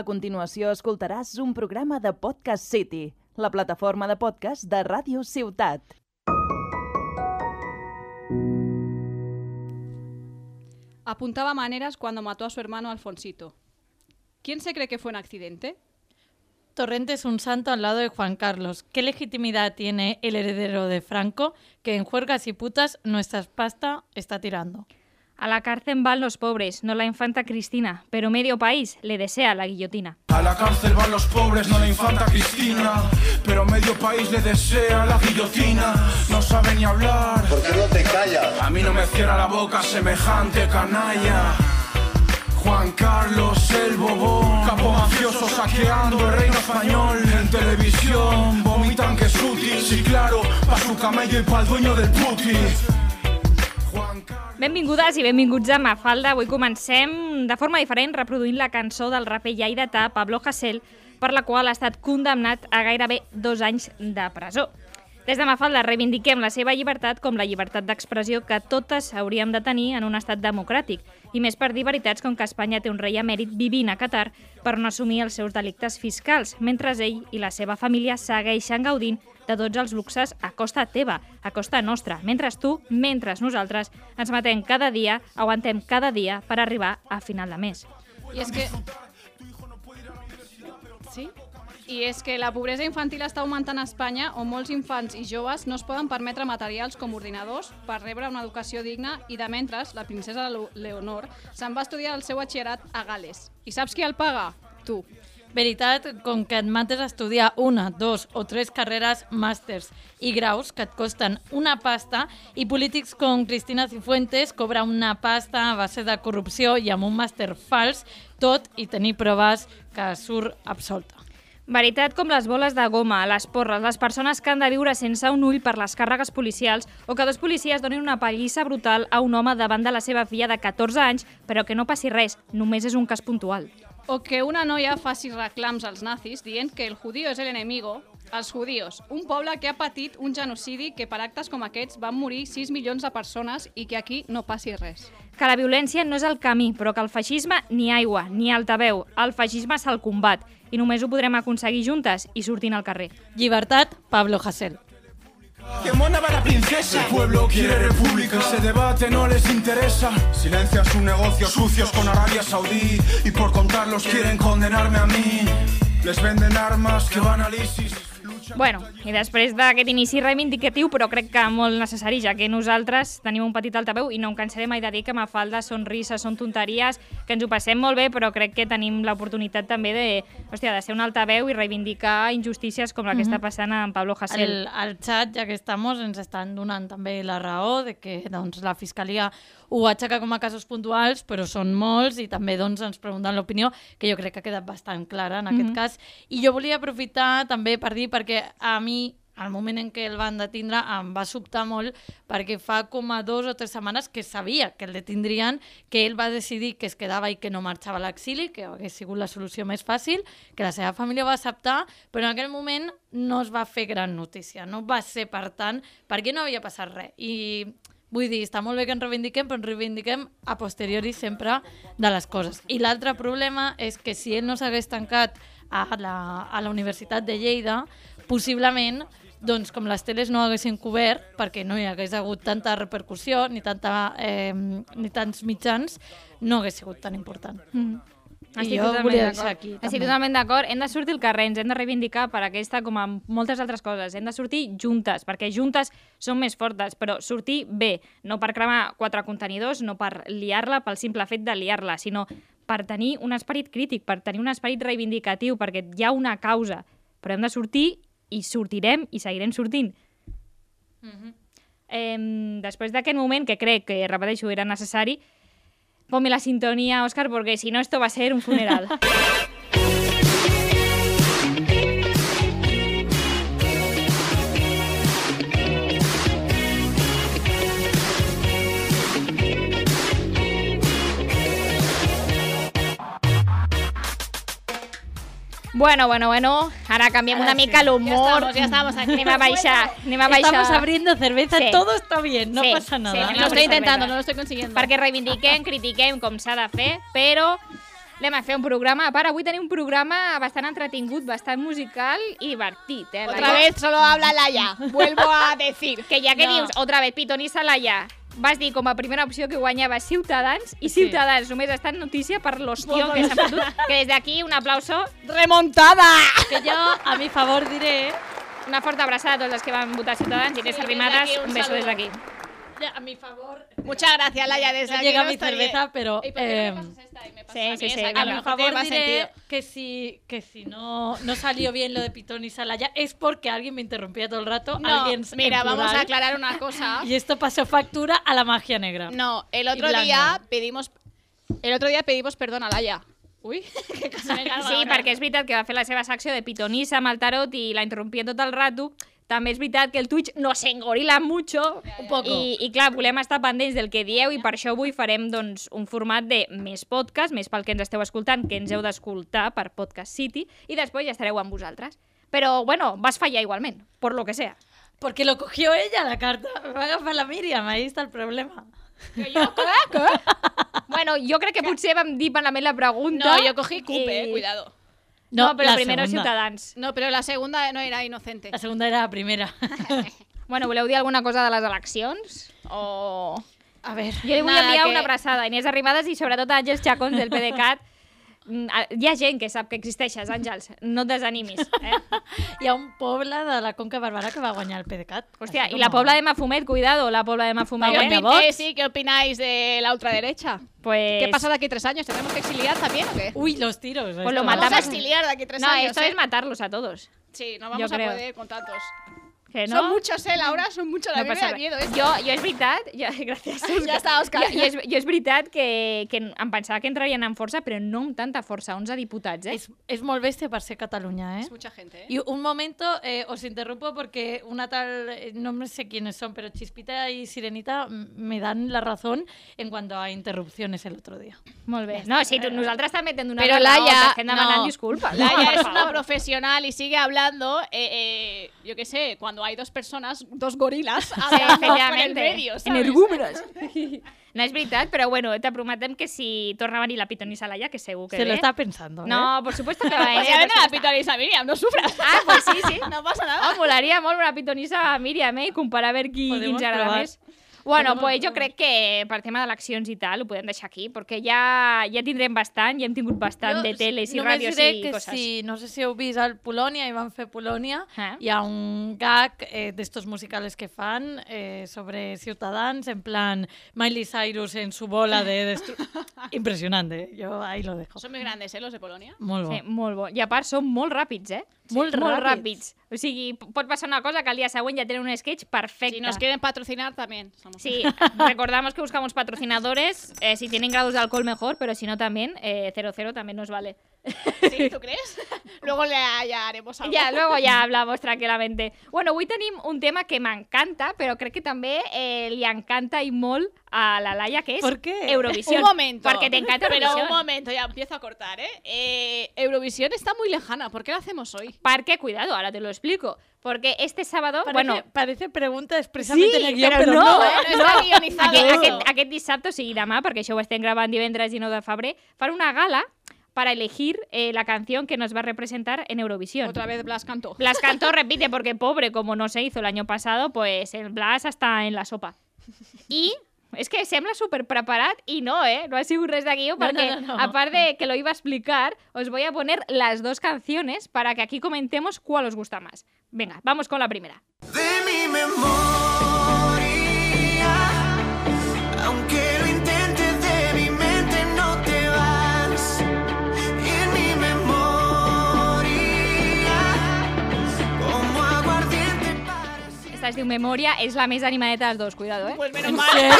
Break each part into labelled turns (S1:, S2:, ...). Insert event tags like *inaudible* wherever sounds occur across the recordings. S1: A continuació escoltaràs un programa de Podcast City, la plataforma de podcast de Ràdio Ciutat.
S2: Apuntaba maneras cuando mató a su hermano Alfonsito. ¿Quién se cree que fue un accidente?
S3: Torrente es un santo al lado de Juan Carlos. ¿Qué legitimidad tiene el heredero de Franco que en juergas y putas nuestra pasta está tirando?
S4: A la cárcel van los pobres, no la infanta Cristina, pero medio país le desea la guillotina.
S5: A la cárcel van los pobres, no la infanta Cristina. Pero medio país le desea la guillotina. No sabe ni hablar.
S6: ¿Por qué no te callas?
S5: A mí no me cierra la boca semejante canalla. Juan Carlos el Bobón, capo mafioso saqueando el reino español. En televisión vomitan que es útil. Sí, claro, pa' su camello y pa' el dueño del puti. Juan Carlos.
S4: Benvingudes i benvinguts a Mafalda. Avui comencem de forma diferent reproduint la cançó del raper lleidatà Pablo Hasél, per la qual ha estat condemnat a gairebé dos anys de presó. Des de Mafalda reivindiquem la seva llibertat com la llibertat d'expressió que totes hauríem de tenir en un estat democràtic, i més per dir veritats com que Espanya té un rei emèrit vivint a Qatar per no assumir els seus delictes fiscals, mentre ell i la seva família segueixen gaudint de tots els luxes a costa teva, a costa nostra, mentre tu, mentre nosaltres, ens matem cada dia, aguantem cada dia per arribar a final de mes.
S2: Y es que... Sí? I és que la pobresa infantil està augmentant a Espanya, on molts infants i joves no es poden permetre materials com ordinadors per rebre una educació digna i de mentres la princesa Leo- Leonor se'n va estudiar el seu batxillerat a Gales. I saps qui el paga? Tu.
S3: Veritat, com que et mates a estudiar una, dos o tres carreres, màsters i graus que et costen una pasta i polítics com Cristina Cifuentes cobra una pasta a base de corrupció i amb un màster fals, tot i tenir proves que surt absolta.
S4: Veritat com les boles de goma, les porres, les persones que han de viure sense un ull per les càrregues policials o que dos policies donin una pallissa brutal a un home davant de la seva filla de 14 anys, però que no passi res, només és un cas puntual.
S2: O que una noia faci reclams als nazis dient que el judío és l'enemigo, els judíos, un poble que ha patit un genocidi que per actes com aquests van morir 6 milions de persones i que aquí no passi res.
S4: Que la violència no és el camí, però que el feixisme ni aigua, ni altaveu. El feixisme és el combat i només ho podrem aconseguir juntes i sortint al carrer.
S3: Llibertat, Pablo Hasél.
S5: ¡Qué mona va la princesa! El pueblo quiere república, ese debate no les interesa. Silencia sus negocios sucios con Arabia Saudí y por contarlos quieren condenarme a mí. Les venden armas que van al ISIS. luchan
S4: Bueno,
S5: contra
S4: i després d'aquest inici reivindicatiu, però crec que molt necessari, ja que nosaltres tenim un petit altaveu i no em cansaré mai de dir que Mafalda són risses, són tonteries, que ens ho passem molt bé, però crec que tenim l'oportunitat també de, hòstia, de ser un altaveu i reivindicar injustícies com la que està passant amb Pablo Hasél.
S3: El, el xat, ja que estamos, ens estan donant també la raó de que doncs, la Fiscalia ho aixeca com a casos puntuals, però són molts i també doncs, ens pregunten l'opinió, que jo crec que ha quedat bastant clara en aquest cas. I jo volia aprofitar també per dir, perquè a mi al moment en què el van detindre em va sobtar molt perquè fa com a dos o tres setmanes que sabia que el detindrien, que ell va decidir que es quedava i que no marxava a l'exili, que hagués sigut la solució més fàcil, que la seva família ho va acceptar, però en aquell moment no es va fer gran notícia, no va ser per tant, perquè no havia passat res. I vull dir, està molt bé que ens reivindiquem, però ens reivindiquem a posteriori sempre de les coses. I l'altre problema és que si ell no s'hagués tancat a la, a la Universitat de Lleida, possiblement doncs com les teles no haguessin cobert perquè no hi hagués hagut tanta repercussió ni, tanta, eh, ni tants mitjans, no hagués sigut tan important.
S4: Mm.
S3: I jo
S4: totalment
S3: volia
S4: d'acord.
S3: deixar aquí,
S4: Estic
S3: també.
S4: totalment d'acord. Hem de sortir al carrer, ens hem de reivindicar per aquesta com amb moltes altres coses. Hem de sortir juntes, perquè juntes som més fortes, però sortir bé, no per cremar quatre contenidors, no per liar-la pel simple fet de liar-la, sinó per tenir un esperit crític, per tenir un esperit reivindicatiu, perquè hi ha una causa. Però hem de sortir i sortirem i seguirem sortint.
S3: Mhm.
S4: Eh, després d'aquest moment, que crec que, repeteixo, era necessari, ponme la sintonía, Oscar, porque si no esto va a ser
S2: *laughs*
S4: un funeral. Bueno, bueno, bueno, ahora cambiamos
S3: Ahora
S4: una
S3: sí.
S4: mica el humor.
S2: estamos, ya estamos aquí.
S4: *laughs* Ni me vais a, ni me vais
S3: Estamos
S4: a-
S3: abriendo cerveza,
S4: Sí.
S3: todo está bien, no
S4: Sí,
S3: pasa nada.
S4: sí,
S2: Lo
S4: Vamos a
S2: estoy
S4: ver,
S2: intentando,
S4: venga.
S2: no lo estoy consiguiendo.
S4: perquè reivindiquem, critiquem com s'ha de fer, però Anem a fer un programa. A part, avui tenim un programa bastant entretingut, bastant musical i divertit. Eh,
S6: Otra
S4: Laia?
S6: vez solo habla Laia. Vuelvo a decir.
S4: Que ja que
S3: No.
S4: dius, otra vez, Piton i Salaya, vas dir com a primera opció que guanyava Ciutadans, i Ciutadans només està en notícia per l'hostió que s'ha fotut, que des d'aquí un aplauso,
S6: ¡Remontada!
S3: Que jo, a mi favor, diré...
S4: una forta abraçada a tots els que van votar Ciutadans, i Inés
S6: Sí, des
S4: Arrimadas,
S6: d'aquí un
S4: un beso
S6: saludo.
S4: des d'aquí.
S3: A mi favor...
S6: Muchas gracias, Laia. Desde
S3: No
S6: aquí
S3: llega
S6: no
S3: mi
S6: estaría-
S3: cerveza, pero...
S2: Ei, per què
S3: em,
S2: no me pasas esta y me pasas
S4: sí,
S2: a mí
S4: sí,
S2: esa?
S4: sí,
S2: Que
S4: a
S2: me
S4: lo
S3: Por
S6: mejor
S3: favor
S6: tiene más
S3: diré
S6: sentido.
S3: que si que si no no salió bien lo de Pitón y Salaya es porque alguien me interrumpía todo el rato
S6: No,
S3: alguien en
S6: mira, vamos
S3: plural,
S6: a aclarar una cosa.
S3: y esto pasó factura a la magia negra
S6: No, el otro
S3: blando.
S6: día pedimos el otro día pedimos perdón a Laia.
S2: Uy, qué cosa me calma
S4: Sí,
S2: ahora.
S4: perquè és veritat que va fer la seva secció de pitonissa amb el tarot i la interrompia tot el rato. També és veritat que el Twitch no s'engorila mucho.
S3: Un poco.
S4: I, I clar, volem estar pendents del que dieu i per això avui farem doncs, un format de més podcast, més pel que ens esteu escoltant, que ens heu d'escoltar per Podcast City i després ja estareu amb vosaltres. Però, bueno, vas fallar igualment, por lo que sea.
S3: porque lo cogió ella la carta me va a agafar la Miriam ahí está el problema *laughs*
S4: Bueno, jo crec que potser vam dir malament la pregunta.
S6: No, yo cogí cupe, eh,
S4: i-
S6: cuidado.
S4: No, però
S3: la
S4: primero
S3: segunda.
S4: Ciutadans.
S6: No, pero la segunda no era inocente.
S3: la segunda era la primera
S6: *laughs*
S4: Bueno, voleu dir alguna cosa de les eleccions?
S6: O
S3: a ver
S4: Jo li vull
S6: Nada,
S4: enviar
S6: que-
S4: una abraçada a Inés Arrimadas i sobretot a Àngels Chacons del PDeCAT. Mm, a- Hi ha gent que sap que existeixes, Àngels. No et desanimis. Eh?
S3: y a un Pobla de la Conca Bárbara que va a guañar el PDCAT
S4: Hòstia,
S3: Así
S4: i la
S3: como-
S4: Pobla de Mafumet, cuidado, la Pobla de Mafumet.
S3: Vamos,
S4: eh?
S3: mi
S6: ¿Qué
S3: amor. Vox?
S6: opi- eh, sí, ¿qué opináis de la ultraderecha?
S4: Pues...
S6: ¿Qué pasa de aquí tres años? ¿Tenemos que exiliar también o qué?
S3: uy los tiros
S4: Pues lo
S3: esto.
S6: Vamos a
S4: matamos.
S6: exiliar de aquí tres
S4: No,
S6: años.
S4: esto
S6: ¿eh?
S4: es matarlos a todos.
S6: Sí, no vamos
S4: Yo
S6: a
S4: creo.
S6: poder con tantos.
S4: Que no?
S6: Son muchos, ¿eh? Laura, son muchos. La
S4: No
S6: no
S4: passa
S6: da
S4: res.
S6: miedo esto.
S4: Jo, jo és veritat... *laughs* Jo,
S6: *laughs*
S4: gràcies, Òscar.
S6: Ja està, Òscar.
S4: Jo, jo, és, jo és veritat que, que em pensava que entrarien amb força, però no amb tanta força, 11 diputats, eh?
S3: es, es molt bestia para ser Cataluña eh
S6: Es mucha gente, ¿eh?
S3: Y un momento, eh, os interrumpo porque una tal, eh, no me sé quiénes son, pero Chispita y Sirenita mm, me dan la razón en cuanto a interrupciones el otro día.
S4: Molt bé. No, sí, tu, nosaltres també t'hem donat
S6: Però,
S4: la raó,
S6: Laia,
S4: t'estem demanant
S3: no.
S4: disculpes.
S6: Laia
S3: *laughs*
S4: Per
S6: es
S4: favor.
S6: una profesional y sigue hablando, eh, eh, yo qué sé, cuando hay dos personas, dos gorilas, hablando por el
S4: efectivamente.
S6: medio,
S4: En
S6: ¿sabes? Pues
S4: el gúmenes. No és veritat, però bueno, te prometem que si torna a venir la pitonissa Laia, que segur que
S3: Se lo
S4: ve.
S3: está pensando. ¿eh?
S4: No, por supuesto que va
S3: *laughs*
S4: a
S6: Pues
S4: ella.
S6: ya ven
S4: por
S6: a la
S4: supuesto.
S6: pitonisa, Miriam, no sufras.
S4: Ah, pues sí, sí.
S6: No pasa
S4: Ah,
S6: nada.
S4: molaria molt una pitonissa a Míriam, eh? I comparar a veure qui, qui
S3: Podemos
S4: ens agrada
S3: provar.
S4: més. Bueno,
S3: Podemos
S4: pues jo
S3: provar.
S4: crec que per tema d'eleccions i tal ho podem deixar aquí, perquè ja ja tindrem bastant, ja hem tingut bastant
S3: Jo
S4: de teles i
S3: només
S4: ràdios
S3: diré
S4: i
S3: que
S4: coses.
S3: Si, no sé si heu vist al Polònia, i van fer Polònia,
S4: Ah.
S3: hi ha un gag eh, d'estos musicales que fan eh, sobre Ciutadans, en plan Miley Cyrus en su bola de...
S4: *laughs*
S3: destru- Impressionante, eh? jo ahí lo dejo.
S6: Son muy grandes, ¿eh? Los de Polonia.
S3: Molt bo.
S4: Sí, molt bo. I a part són molt ràpids, eh?
S3: Sí, molt
S4: molt
S3: ràpids.
S4: ràpids. O sigui, p- pot passar una cosa que al dia següent ja tenen un sketch perfecte.
S6: Si nos quieren patrocinar también. somos-
S4: Sí, *laughs* recordamos que buscamos patrocinadores, eh, si tienen grados de alcohol mejor, pero si no también, eh, 00 también nos vale.
S6: ¿Sí? ¿Tú crees? *laughs* Luego le ya haremos algo.
S4: Ja, luego ja hablamos tranquil·lament. Bueno, avui tenim un tema que m'encanta, però crec que també eh, li encanta i molt a la Laia, que és
S3: ¿Por qué?
S4: Eurovisión.
S6: Un momento.
S4: Perquè t'encanta
S6: Pero un
S4: Eurovisión.
S6: momento, ya empiezo a cortar, ¿eh? Eh, Eurovisión está muy lejana. ¿Por qué la hacemos hoy?
S4: Perquè, cuidado, ahora te lo explico. Porque este sábado,
S3: Parece,
S4: bueno,
S3: parece pregunta expresamente en el guión,
S4: pero
S3: pero,
S4: no,
S3: no,
S6: No,
S3: eh?
S6: no está guionizado.
S4: aquest,
S6: eso.
S4: aquest, aquest dissabte, o sigui demà, perquè això ho estem gravant divendres 19 de febrer, fan una gala para elegir eh, la canción que nos va a representar en Eurovisión.
S6: Otra vez Blas cantó. *laughs*
S4: Blas Cantó repite porque pobre, como no se hizo el año pasado, pues el Blas hasta en la sopa. Y es que sembla super preparat y no, ¿eh? No ha sido res de guió
S3: No,
S4: porque
S3: no, no, no.
S4: aparte de que lo iba a explicar, os voy a poner las dos canciones para que aquí comentemos cuál os gusta más. Venga, vamos con la primera.
S7: de mi memoria. Aunque lo intentes de mi mente, no te vas. En mi memoria, como aguardiente para siempre.
S4: Esta es de memoria, es la més animadeta de las dos, cuidado, ¿eh?
S6: Pues menos
S3: ¿En
S6: mal.
S3: serio?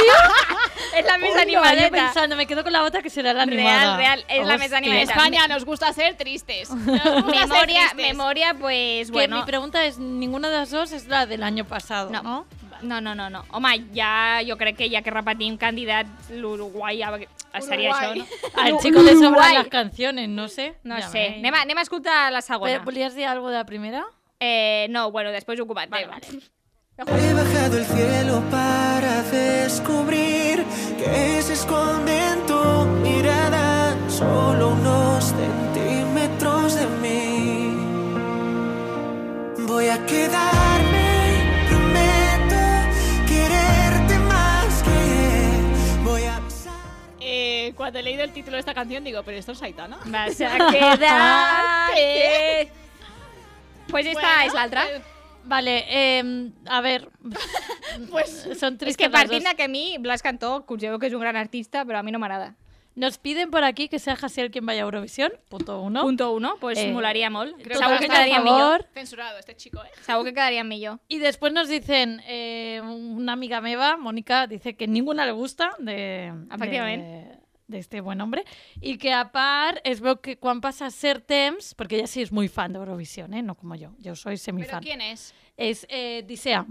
S4: Es la més
S3: Uy, lo vaya
S4: animadeta.
S3: pensando, me quedo con la otra que será la
S4: Real,
S3: animada.
S4: real, es la mesa
S3: Hostia.
S4: animada.
S6: En España nos gusta ser
S4: *laughs*
S6: tristes. Nos gusta ser
S4: Memoria,
S6: tristes.
S4: memoria, pues
S3: Que
S4: bueno.
S3: mi pregunta es, ninguna de las dos es la del año pasado,
S4: No.
S3: ¿no?
S4: No, no, no, no. Home, ja, jo crec que ja que repetim candidat, l'Uruguai ja, seria això,
S6: Uruguai.
S4: no?
S3: Al chico le sobran
S4: Uruguai.
S3: las canciones, no sé.
S4: No
S3: Ya
S4: sé.
S3: veréis.
S4: Anem a, anem a escoltar la segona.
S3: Pero, ¿Volías decir algo de la primera?
S4: Eh, no, bueno, després ho comentem. Vale, vale.
S7: He bajado el cielo para descubrir que se esconde en tu mirada solo unos centímetros de mí. Voy a quedarme, prometo quererte más que voy a
S6: Eh, cuando he leído el título de esta canción em digo, pero esto es Aitana.
S4: Vas *laughs* a *laughs* quedarte. Pues esta
S6: Bueno,
S4: és l'altra.
S6: eh,
S3: Vale, eh, a *laughs* ver.
S6: Pues
S3: Son
S4: És
S3: tres
S4: que partint de que a mi Blas Cantó, considero que és un gran artista, però a mi no m'agrada.
S3: Nos piden por aquí que sea Hasiel quien vaya a Eurovisión. Punto uno.
S4: Punto uno, pues
S3: Eh,
S4: molaria molt.
S6: creo
S4: Segur
S6: que
S4: que
S6: està a
S4: quedaria millor.
S3: favor.
S6: censurado este chico, ¿eh?
S4: Segur que quedaria millor.
S3: Y después nos dicen, eh, una amiga meva, Mónica, dice que ninguna le gusta de,
S4: Efectivamente.
S3: de, de este buen hombre. Y que a par, es veo que cuando pasa a ser Temps, porque ella sí es muy fan de Eurovisión, ¿eh? no como yo, yo soy
S6: ¿Pero
S3: semifan.
S6: quién es?
S3: Es eh, Disea,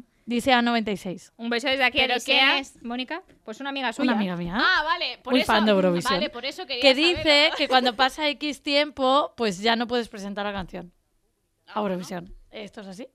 S3: Disea96,
S4: Un beso des d'aquí a
S6: Però
S4: Odissea.
S6: què és?
S4: Mónica, pues una amiga suya.
S3: una amiga mía.
S6: Ah, vale. Por
S3: Muy
S6: eso,
S3: fan de Eurovisión.
S6: Vale, por eso quería
S3: que
S6: saberlo.
S3: dice que cuando pasa X tiempo, pues ya no puedes presentar la canción a Eurovisión. ¿Esto es así?